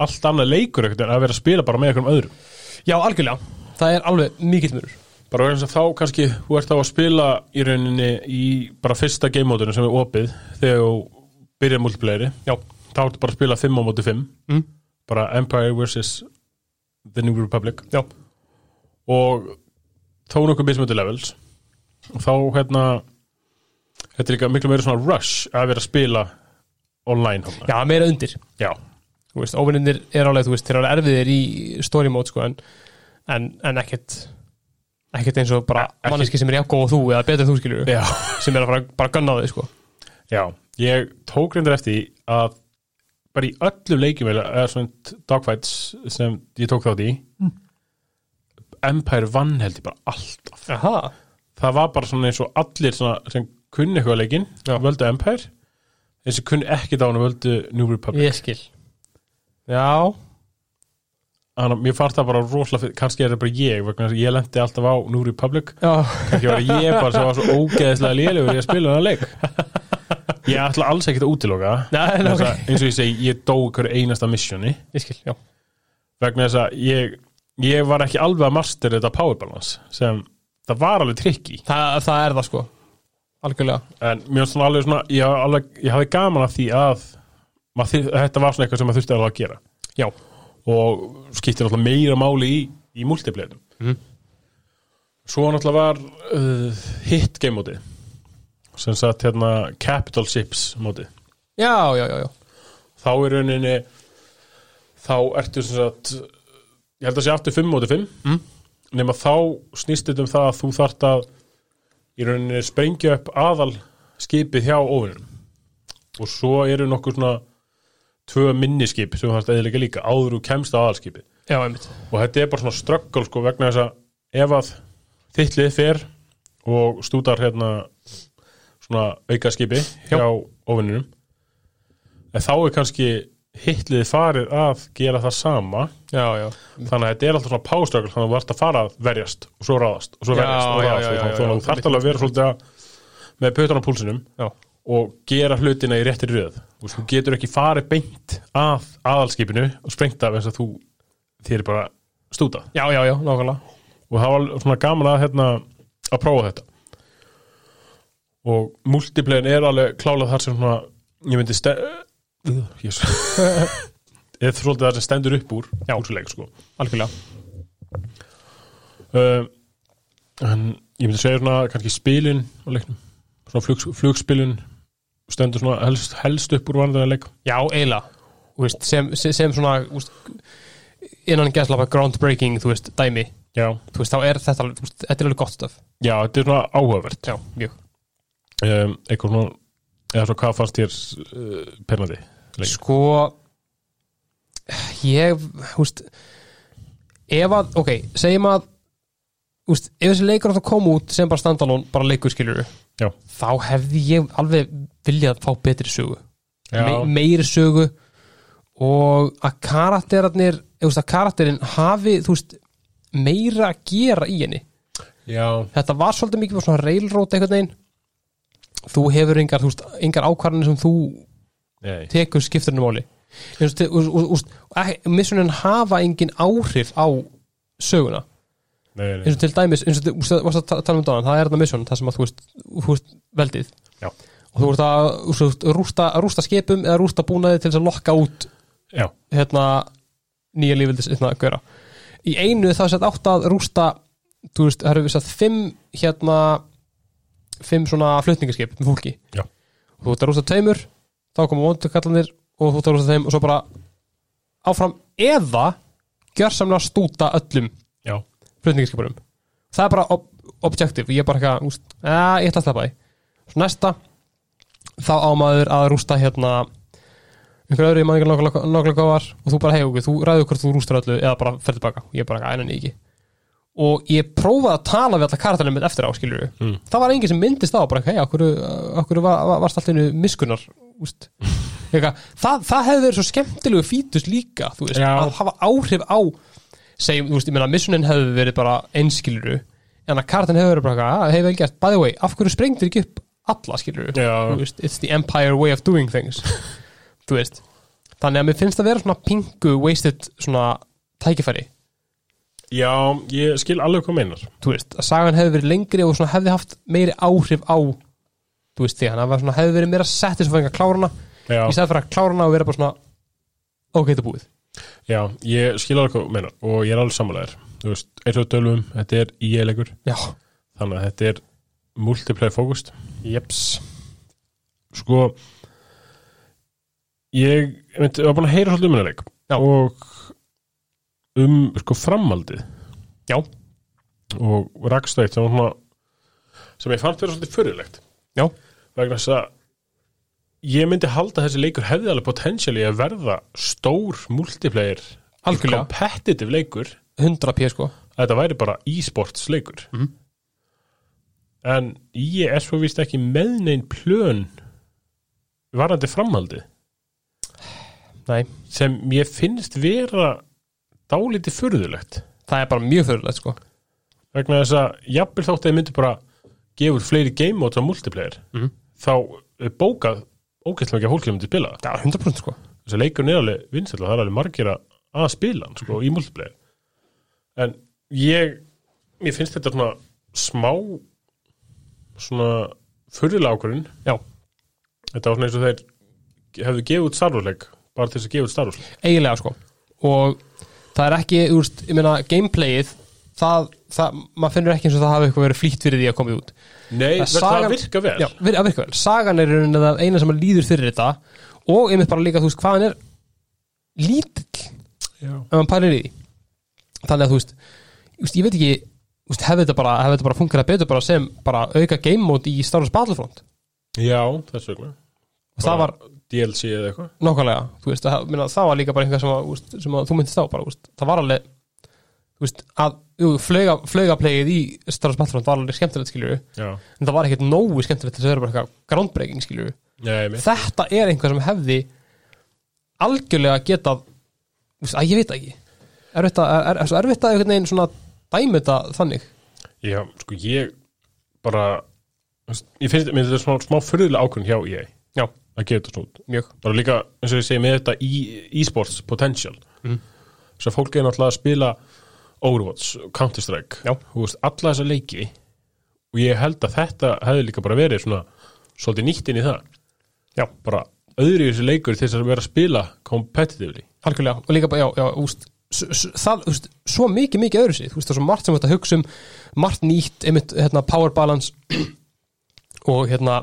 S2: allt annað leikur ekkert en að vera að spila bara með einhverjum öðrum
S1: Já, algjörlega, það er alveg mikill munur
S2: bara vegna þess að þá kannski þú ert á að spila í rauninni í bara fyrsta gamemótinu sem er opið þegar þú byrjar multiplayeri
S1: Já,
S2: þá ertu bara að spila 5 á móti 5
S1: mm.
S2: bara Empire vs. The New Republic
S1: já,
S2: og þá er nokkuð mismöndi levels og þá hérna þetta er líka miklu meira svona rush að vera að spila online hana.
S1: já, meira undir
S2: já,
S1: Þú veist, óvinnir er alveg, þú veist, þeir eru alveg erfiðir í story mode, sko, en, en, en ekkert ekkert eins og bara
S2: Ekki-
S1: manneski sem er jákó og þú eða betur en þú skilur
S2: já,
S1: sem er að fara bara að gunna á þig, sko
S2: já ég tók reyndar eftir því að bara í öllum leikjum eða eða svona dogfights sem ég tók þátt í Empire vann held ég bara alltaf
S1: Aha,
S2: það var bara svona eins og allir svona, sem kunni eitthvað leikinn, völdu Empire þeir sem kunni ekkit á hann völdu New Republic
S1: ég skil Já,
S2: þannig að mér fannst það bara rosalega fyrir, kannski er það bara ég vegna þess að ég lendi alltaf á New Republic
S1: já,
S2: kannski var ég bara sem var svo ógeðislega lélegur í að spila hann leik ég ætla alls ekkit að útiloka það.
S1: Nei, nei,
S2: Vegna þess
S1: ok,
S2: að eins og ég segi, ég dó hverju einasta missioni
S1: ég skil, já
S2: vegna þess að ég, ég var ekki alveg að master þetta power balance sem það var alveg trikki
S1: Þa, Það er það, sko, algjörlega
S2: en mér var svona alveg svona ég, hafði alveg, ég hafði gaman af því að maður, þyr- þetta var svona eitthvað sem maður þurfti alveg að gera
S1: Já,
S2: og skiptir náttúrulega meira máli í, í multiplayerum
S1: Mhm.
S2: svo náttúrulega var uh, hit game móti sem sagt hérna capital ships móti
S1: já, já, já, já.
S2: þá er rauninni þá ertu sem sagt ég held að sé aftur 5 móti 5
S1: Mm.
S2: nema þá snýst þetta um það að þú þart að í rauninni sprengja upp aðal skipið hjá óvinnum og svo eru nokkur svona tvö minniskip sem þú þarft eðilega líka áður og kemst að aðalskipið
S1: Já, einmitt
S2: og þetta er bara svona ströggul sko vegna þess að ef að þittlið fer og stútar hérna svona aukaskipi hjá óvinninum en þá er kannski hittlið farið að gera það sama
S1: Já, já,
S2: þannig að þetta er alltaf svona páströggul þannig að þú ert að fara að verjast og svo ráðast og svo
S1: Já,
S2: verjast og
S1: já, já,
S2: ráðast
S1: já,
S2: þannig að
S1: já,
S2: þú
S1: já,
S2: þarft alveg að vera svolítið að með pötan á púlsinum
S1: já,
S2: og gera hlutina í réttir röð og þú getur ekki farið beint að aðalskipinu og sprengt af eins að þú þér er bara stútað
S1: já, já, já, nákvæmlega
S2: og það var svona gaman að hérna, að prófa þetta og multiplayin er alveg klálað þar sem svona ég myndi ste- Ugh, Jesus. eða svolítið þar sem stendur upp úr já, úrsuleik sko
S1: Algjörlega
S2: uh, en ég myndi segja svona kannski spilin á leiknum svona flug, flugspilin stendur svona helst, helst upp úr vanlega leik
S1: Já, eiginlega Þú veist, sem, sem, sem svona úst, innan gæslapa groundbreaking þú veist, dæmi
S2: já,
S1: þú veist, þá er þetta alveg, þú veist, þetta er alveg gott stöf
S2: já þetta er svona áhugavert
S1: Já, mjög
S2: um, eitthvað svona eða svo hvað fannst þér uh, pernandi Lengi.
S1: Sko ég, þú veist ef að, ok, segjum að þú veist, ef þessi leikur átt að koma út sem bara standalone, bara leikur skilur
S2: já,
S1: þá hefði ég alveg viljað fá betri sögu
S2: já,
S1: me meiri sögu og að karakterarnir þú veist, að karakterinn hafi þú veist, meira að gera í henni
S2: já.
S1: þetta var svolítið mikið bara svona railroad einhvern veginn þú hefur engar, þú veist, engar ákvarðanir sem þú
S2: Nei.
S1: tekur skipturinn máli eins og til- og- og- og- og- missunin hafa engin áhrif á söguna
S2: Nei, nei.
S1: eins og til dæmis, eins og til, þú varst að ta- tala um dánan það er þetta mission, það sem að þú veist, þú veist veldið
S2: Já.
S1: og þú ert að, þú veist, rústa, rústa skipum eða rústa búnaði til þess að lokka út
S2: Já,
S1: hérna nýja lífildis hérna að gera í einu þá sett átt að rústa þú veist, það eru vissað fimm hérna fimm svona flutningaskip með fólki
S2: Já.
S1: og þú ert að rústa tveimur þá koma vondukallanir og þú ert að rústa þeim og svo bara áfram eða gjörsamlega stúta öllum
S2: já,
S1: flutningaskipunum það er bara ob objektiv ég er bara eitthvað, úst, að, ég ætla að sleppa því svo næsta þá á maður að rústa hérna einhver öðru í manningar nákvæmlega góðar og þú bara hei okkur, þú ræður hvort þú rústar öllu eða bara ferð tilbaka, ég er bara eitthvað einan ekki og ég prófaði að tala við alla karatarnum mitt eftir á, skilur við
S2: Mm.
S1: það var enginn sem myndist á, bara hei, okkur, okkur var, var, varst allt einu miskunar úst. Eitthvað, það, það hefði verið svo skemmtilegu fítus líka, þú veist,
S2: Já.
S1: að hafa áhrif á segjum, þú veist, ég meina missunin hefði verið bara einskiluru en að kartan hefði verið bara, eitthvað, ah, hey vel gert, by the way af hverju sprengdir ekki upp alla skiluru
S2: Já.
S1: veist, it's the empire way of doing things þú veist þannig að mér finnst það vera svona pingu wasted svona tækifæri
S2: Já, ég skil alveg hvað meinar
S1: þú veist, að sagan hefði verið lengri og svona hefði haft meiri áhrif á þú veist, því hann var svona, hefði verið meira sett þess að fengi að klára hana,
S2: Já,
S1: í stæð fyrir að klára hana og vera bara svona ok, þetta er búið
S2: já ég skil alveg hvað þú meinar og ég er alveg samanlegar Þú veist, eins og við tölum, um, þetta er IE-leikur
S1: Já,
S2: þannig að þetta er multiplayer fókust
S1: jeps
S2: Sko ég myndi, var búin að heyra svolítið um minnuleik
S1: Já.
S2: og um sko framaldið
S1: Já,
S2: og rakstætt sem, var svona, sem ég fannst vera svolítið fyrirlegt
S1: já,
S2: vegna þess að ég myndi halda að þessi leikur hefði alveg potensiali að verða stór multiplayer
S1: Algjörlega.
S2: competitive leikur
S1: 100 p sko
S2: að þetta væri bara e-sports leikur
S1: Mhm.
S2: en ég er svo víst ekki með neinn plön varandi framhaldi
S1: Nei,
S2: sem ég finnst vera dálítið furðulegt
S1: það er bara mjög fyrirlegt sko
S2: vegna þess að jafnvel þótt að ég myndi bara gefur fleiri game modes á multiplayer
S1: Mhm.
S2: þá er bókað ógæstlega ekki að fólk sem myndi spila
S1: Já, 100% sko
S2: þess að leikurinn er alveg vinsæll og það er alveg margir að að spila hann sko, í multiplayer en ég mér finnst þetta svona smá svona furðulega ákvörðin
S1: Já,
S2: þetta var svona eins og þeir hefðu gefið út starfúrleik bara til þess að gefa út starfúrleik
S1: eiginlega sko og það er ekki, þú veist, ég meina gameplayið, það, það maður finnur ekki eins og það hafi eitthvað verið flýtt fyrir því að komið út
S2: Nei,
S1: Það
S2: það,
S1: sagan-
S2: virka vel
S1: Já, vir- að virka vel, sagan er í rauninni það eina sem að líður fyrir þetta og einmitt bara líka, þú veist, hvað hann er lítill ef
S2: Já.
S1: hann pælir í því þannig að þú veist, þú veist ég veit ekki þú veist, hefði þetta bara, hefði þetta bara fungerað betur bara sem bara auka game mode í Star Wars Battlefront
S2: Já, þess vegna
S1: og það var
S2: DLC eða eitthvað
S1: nákvæmlega, þú veist, að, minna, það var líka bara einhver sem, að, þú veist, sem að þú myndist á bara, þú veist, það var alveg þú veist, að jú, flauga, flaugaplegið í Star Wars Battlefront var alveg skemmtilegt skiljur en
S2: Já,
S1: það var ekkert nógu skemmtilegt til þess að vera bara eitthvað groundbreaking skiljur
S2: Nei, mitt
S1: þetta er einhver sem hefði algjörlega getað þú veist, að ég veit það ekki er þetta, er, er, er svo erfitt að einhvern veginn svona dæmi þetta þannig
S2: Já, sko ég bara ég finnst mér þetta smá, smá furðulega ákvörðin hjá E ég
S1: já,
S2: að gefa þetta svona út
S1: mjög,
S2: bara líka, eins og ég segi með þetta e- e-sports potential þess að fólk er náttúrulega að spila Overwatch, Counter-Strike
S1: Já.
S2: Þú veist, alla þessa leiki og ég held að þetta hefði líka bara verið svona, svolítið nýtt inn í það
S1: Já.
S2: bara öðru í þessu leikur til þess að vera að spila competitively
S1: algjörlega og líka bara, já, já, úst það, úst, svo mikið, mikið öðru sig þú veist, það er svo margt sem þetta hugsa um margt nýtt, einmitt, hérna, power balance og hérna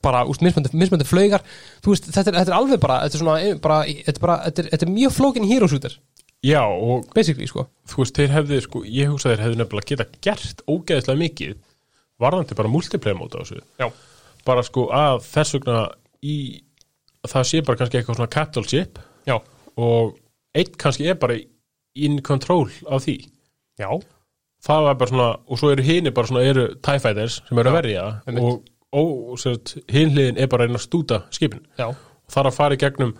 S1: bara, úst, mismöndi, mismöndi flaugar þú veist, þetta er, þetta er alveg bara, þetta er svona eh, bara, þetta er bara, þetta er, þetta er mjög flókin hero shooter,
S2: Já, og
S1: basically, sko
S2: þú veist, þeir hefði sko, ég hugsa að þeir hefði nefnilega geta gert ógeðislega mikið varðandi bara multiplayer móta á þessu
S1: já,
S2: bara sko að þess vegna í, það sé bara kannski eitthvað svona cattle ship
S1: já,
S2: og einn kannski er bara in control af því
S1: já
S2: það var bara svona, og svo eru hini bara svona eru TIE Fighters sem eru að verja
S1: einmitt.
S2: og, og hinliðin er bara að reyna að stúta skipin
S1: já,
S2: og þar að fara í gegnum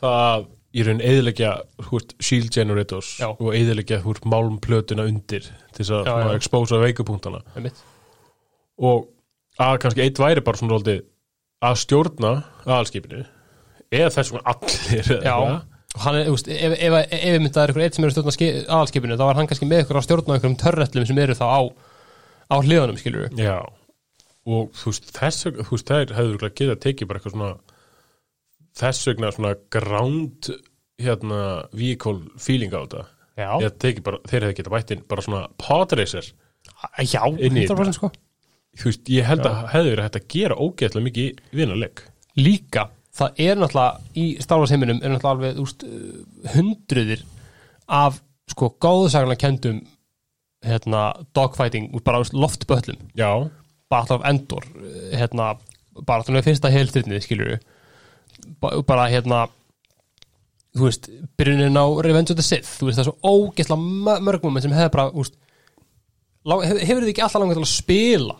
S2: það að í raun eðilegja húst, shield generators
S1: Já.
S2: og eðilegja húst, málmplötuna undir til þess að
S1: Já, já.
S2: svona expósa veikupunktana
S1: einmitt
S2: og að kannski eitt væri bara svona roldið að stjórna aðalskipinu eða þess vegna allir eða
S1: Já,
S2: eitthvað.
S1: og hann er, þú veist, ef, ef, ef, ef myndað er ykkur eitt sem er að stjórna ski- aðalskipinu þá var hann kannski með ykkur að stjórna ykkur um törrætlum sem eru þá á, á hliðunum, skilur við
S2: Já, og þú veist, þess vegna, þú veist, þær hefur örugglega getað tekið bara eitthvað svona þess vegna svona ground hérna, vehicle feeling á þetta
S1: Já,
S2: Ég tekið bara, þeir hefði getað bætt inn bara svona podracer,
S1: já,
S2: Inn í
S1: 100% sko
S2: þú veist, ég held að hefði verið hægt að gera ógeðlega mikið í vinarleik
S1: Líka, það er náttúrulega í starfarsheiminum er náttúrulega alveg úst, hundruðir af sko góðsaklega kendum hérna, dogfighting, úr bara úst, loftböllum
S2: Já,
S1: Battle of Endor eh, hérna, bara þannig að fyrsta heilstyrnið skilur við bara hérna þú veist, byrjunin á Revenge of the Sith þú veist, það er svo ógeðslega mö- mörg moment sem hefur bara, þú veist lang- hef- hefur þið ekki alltaf langað til að spila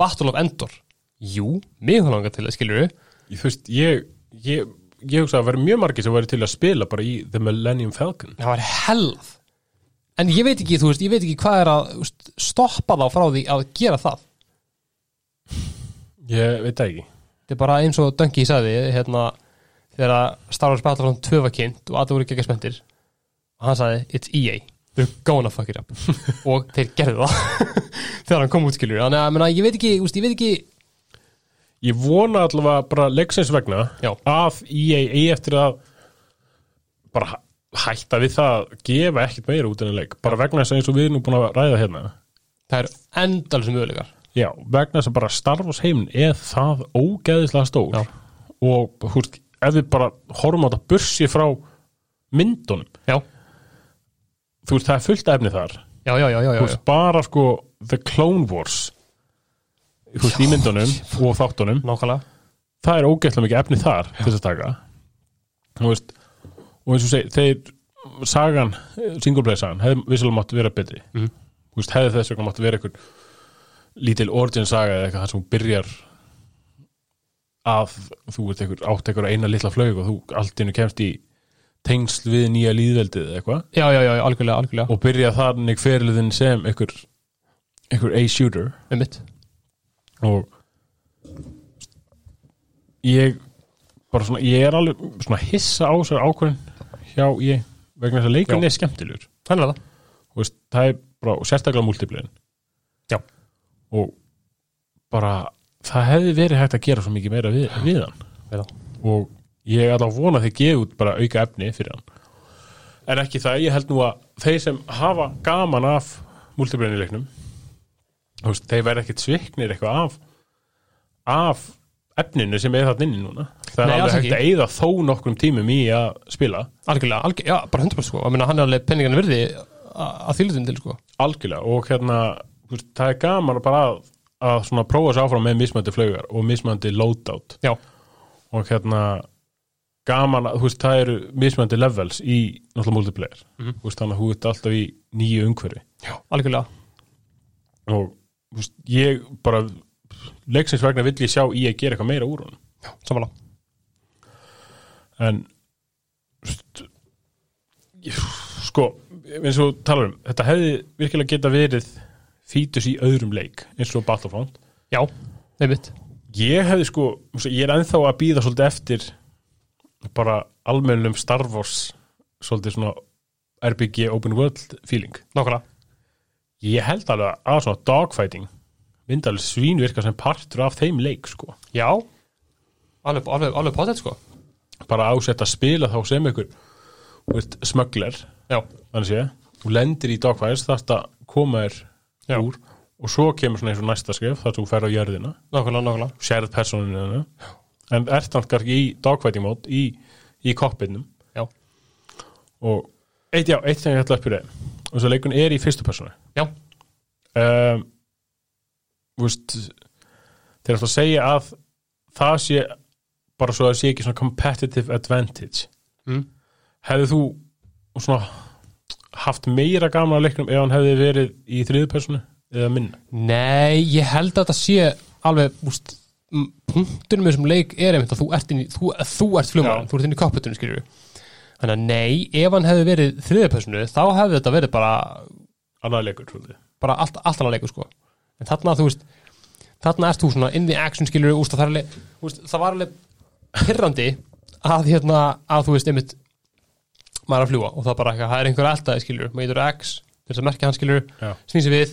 S1: Battle of Endor jú, mig hefur langað til það, skilur við
S2: þú veist, ég, ég ég hugsa að verið mjög margir sem verið til að spila bara í The Millennium Falcon
S1: það var hellað en ég veit ekki, þú veist, ég veit ekki hvað er að þú veist, stoppa þá frá því að gera það
S2: Ég veit það ekki
S1: þetta er bara eins og Döngi sagði hérna, þegar að Star Wars Battlefront 2 var kynnt og allir voru ekki spenntir og hann sagði, it's EA they're gonna fuck it up og þeir gerðu það þegar hann kom út skilur þannig að menna, ég veit ekki, úst, ég veit ekki
S2: Ég vona allavega bara leiksins vegna
S1: Já.
S2: að EA eigi eftir að bara hæ- hætta við það að gefa ekkert meira út en að leik bara vegna þess að eins og við erum nú búin að ræða hérna
S1: það er endalsum möguleikar
S2: Já, vegna þess að bara Star Wars heiminn er það ógeðislega stór
S1: Já.
S2: og húst, ef við bara horfum á þetta bursi frá myndunum
S1: já,
S2: þú veist, það er fullt efni þar þú
S1: já, já, já, já, já, já.
S2: veist, bara sko The Clone Wars þú veist, í myndunum og þáttunum
S1: nákvæmlega
S2: það er ógeðslega mikið efni þar til þess að taka þú veist, og eins og segi, þeir sagan, singleplayer sagan hefði vissulega mátt vera betri mm. veist, hefði þess vegna mátt vera einhver lítil origin saga eða eitthvað þar sem hún byrjar að þú ert einhver, átt einhver eina litla flög og þú allt innu kemst í tengsl við nýja líðveldið eða eitthvað
S1: já, já, já, já, algjörlega, algjörlega,
S2: og byrja þannig fyrirliðin sem einhver, einhver A-shooter
S1: um mitt
S2: og ég bara svona, ég er alveg svona hissa á þessar ákvörðin hjá ég vegna þess að leikurinn
S1: Já.
S2: er skemmtilegur
S1: þannig er það,
S2: Þú veist, það er bara, og sérstaklega múltipliðin
S1: Já.
S2: og bara það hefði verið hægt að gera svo mikið meira við, við hann
S1: Við það.
S2: og ég ætla að vona að þeir gefa út bara auka efni fyrir hann en ekki það, ég held nú að þeir sem hafa gaman af múltipliðin í leiknum þú veist, þeir verða ekkit sviknir eitthvað af af efninu sem er þarna inni núna það er
S1: Nei, alls
S2: alveg
S1: ekki.
S2: hægt að eyða þó nokkrum tímum í að spila
S1: algjörlega, algjörlega, já, bara 100% sko, ég meina hann er alveg penningan virði a- að þýlutum til sko,
S2: algjörlega og hérna þú veist, það er gaman að bara að, að svona prófa sér áfram með mismandi flaugar og mismandi loadout
S1: já,
S2: og hérna gaman að, þú veist, það eru mismandi levels í náttúrulega multiplayer mm veist, þannig að þú ert alltaf í nýju umhverfi
S1: já, algjörlega
S2: og þú veist, ég bara leiksins vegna vill ég sjá í að gera eitthvað meira úr honum
S1: samanlá,
S2: en st- ég- sko eins og þú talar um, þetta hefði virkilega geta verið fítus í öðrum leik eins og Battlefront
S1: já, um mitt
S2: ég hefði sko, ég er ennþá að býða svolítið eftir bara almennum Star Wars svolítið svona RPG open world feeling
S1: nákvæmlega,
S2: ég held alveg að svona dogfighting myndi alveg svínvirka sem partur af þeim leik sko,
S1: já alveg, alveg, alveg potið sko
S2: bara ásett að spila þá sem ykkur þú veist, smöggler
S1: já,
S2: þannig sé, þú lendir í dogfights þarft að koma þér
S1: Já.
S2: úr og svo kemur svona eins og næsta skrif þar sem þú fer á jörðina,
S1: nákvæmlega, nákvæmlega
S2: sérð personinu þína. en ert hann kannski í dogfighting mót í, í kokpinnum
S1: já,
S2: og eitt, já, eitt sem ég ætla að spyrja þig. og þess að leikun er í fyrstu personu
S1: já,
S2: um, þú veist þeir ætla að segja að það sé bara svo að það sé ekki svona competitive advantage
S1: Mm.
S2: hefði þú svona haft meira gaman af leiknum ef hann hefði verið í þriðu personu eða minna
S1: nei, ég held að þetta sé alveg, úst punktunum með þessum leik er einmitt að þú ert inn í þú, þú ert flugmaður,
S2: Já.
S1: þú ert inn í kokpitunum skilur þannig að nei, ef hann hefði verið þriðapersonu, þá hefði þetta verið bara
S2: annar leikur svolítið
S1: bara allt, allt annað leikur sko en þarna þú veist þarna ert þú svona in the action skilur úst, það, er alveg, úst, það var alveg pyrrandi að hérna að þú veist einmitt maður er að fljúa og það bara eitthvað, það er einhver eldaði skilur maður getur X, til þess að merkja hann skilur
S2: Já.
S1: snýr sér við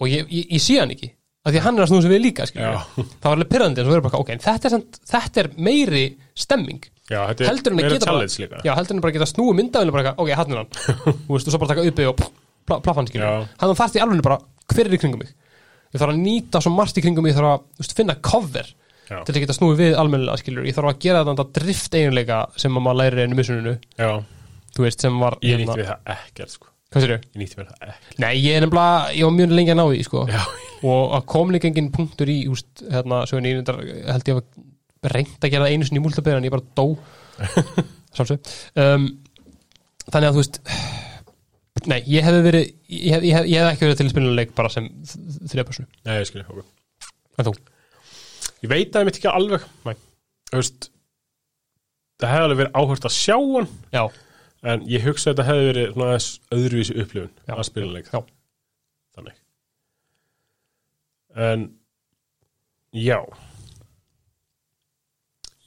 S1: og ég, ég, ég sé hann ekki af því að hann er að snúa sér við líka skilur
S2: Já.
S1: það var alveg pyrrandi en svo verður bara ok, en þetta er, samt, þetta er meiri stemming
S2: já, þetta
S1: heldur
S2: er
S1: hann að
S2: meira
S1: geta bara,
S2: challenge líka
S1: já, heldur hann bara að geta snúi myndavinu bara eitthvað, ok, hann er hann Þú veist, og svo bara taka uppi og pl plafan skilur
S2: Já.
S1: hann hann þarfti í alveg bara, hver er í kringum mig ég þarf að nýta svo margt í kringum mig ég þarf að þú veist, finna cover
S2: Já.
S1: til að geta snúi við almennilega skilur ég þarf að gera þetta drift eiginleika sem að maður lærir einu missuninu
S2: já,
S1: þú veist, sem var hérna-
S2: ég nýtti við það ekkert sko.
S1: hvað sér ég?
S2: ég nýtti við það ekkert
S1: Nei, ég er nefnilega, ég var mjög lengi að ná því sko.
S2: já,
S1: og að kom líka engin punktur í úst, hérna, svo en ég reyndar- held ég að reynd að gera það einu sinni í múltabæðir en ég bara dó Sjálfsög. um, þannig að þú veist nei, ég hefði verið ég hefði hef, hef ekki verið til að spila leik bara sem þriðapersonu,
S2: Nei, ég, skil, okay.
S1: en þú
S2: ég veit að ég mitt ekki alveg
S1: nei.
S2: Þú veist, það hefði alveg verið áhört að sjá hann
S1: já,
S2: En ég hugsa að þetta hefði verið svona aðeins öðruvísi upplifun
S1: Já.
S2: að spila leik
S1: já,
S2: þannig. En já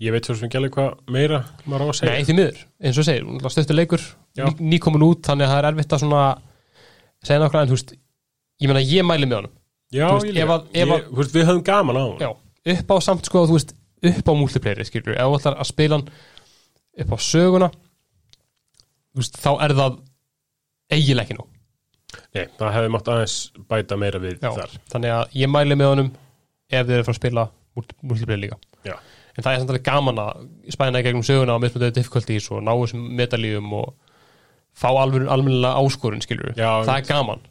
S2: ég veit svo sem ekki alveg hvað meira maður á að segja.
S1: nei, því miður eins og ég segir, hún er náttúrulega stuttur leikur
S2: Já.
S1: ný, nýkomin út, þannig að það er erfitt að svona segja nokkra en þú veist ég meina ég mæli með honum
S2: Já,
S1: Þú veist,
S2: ég líka.
S1: ef að- ef
S2: Ég-
S1: að-
S2: Þú veist, við höfum gaman á hann
S1: Já, upp á samt sko þú veist, upp á multiplayeri skilur, ef þú ætlar að spila hann upp á söguna þú veist, þá er það eiginlega ekki nú
S2: Nei, það hefði mátt aðeins bæta meira við
S1: Já,
S2: þar
S1: þannig að ég mæli með honum ef þið eru frá að spila multi- multiplayer líka
S2: Já,
S1: en það er samt alveg gaman að spæna í gegnum söguna á mismunandi difficulties og ná þessum metalíum og fá alveg almennilega áskorun skilur
S2: Já,
S1: það er gaman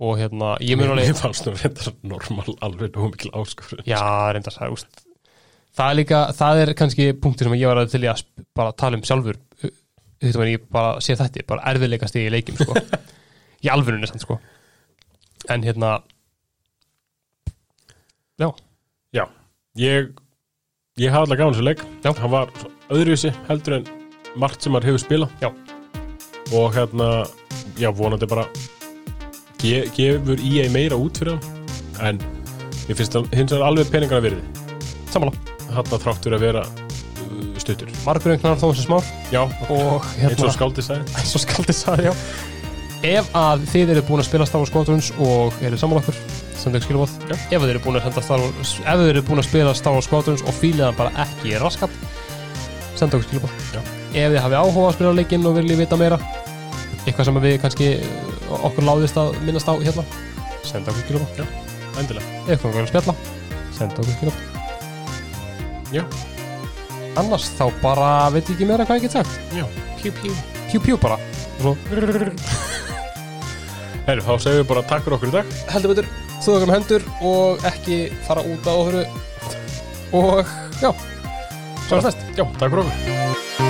S1: og hérna, ég mun
S2: mér
S1: alveg
S2: fannst nú reyndar normal alveg nóg mikil áskur
S1: já, reyndar það, úst það er líka, það er kannski punktur sem ég var að til í að sp- bara tala um sjálfur uh, þetta var ég bara sé þetta bara erfiðleikast í leikim sko í alvörunni samt sko en hérna já,
S2: Já, ég ég hafði alltaf gaman þessu leik
S1: Já.
S2: hann var öðruvísi heldur en margt sem maður hefur spila
S1: Já.
S2: og hérna, já vonandi bara ge gefur í ei meira út fyrir hann en ég finnst hann hins vegar alveg peningana virði
S1: sammála
S2: þarna þráttur að vera uh, stuttur
S1: margur einhvern þó þessi smár
S2: Já,
S1: og
S2: eins
S1: hérna
S2: og skáldið sagði
S1: svo skaldið sagði já ef að þið eru búin að spila Star Wars Squadrons og eru saman okkur senda ekki skilabóð
S2: Já.
S1: ef þið eru búin að senda Star Wars ef þið eru búin að spila Star Wars Squadrons og fílið hann bara ekki í raskat senda okkur skilabóð
S2: Já.
S1: ef þið hafi áhuga að spila leikinn og viljið vita meira eitthvað sem við kannski okkur láðist að minnast á hérna senda okkur skilabóð
S2: Endilega
S1: ef eitthvað okkur að spjalla senda okkur skilabóð
S2: Já,
S1: annars þá bara veit ég ekki meira hvað ég get sagt
S2: já, pjú pjú
S1: pjú pjú bara og svo
S2: Herru, þá segjum við bara takk fyrir okkur í dag
S1: heldur betur þú okkar með hendur og ekki fara út að ofuru og já, svo er næst
S2: Já, takk fyrir okkur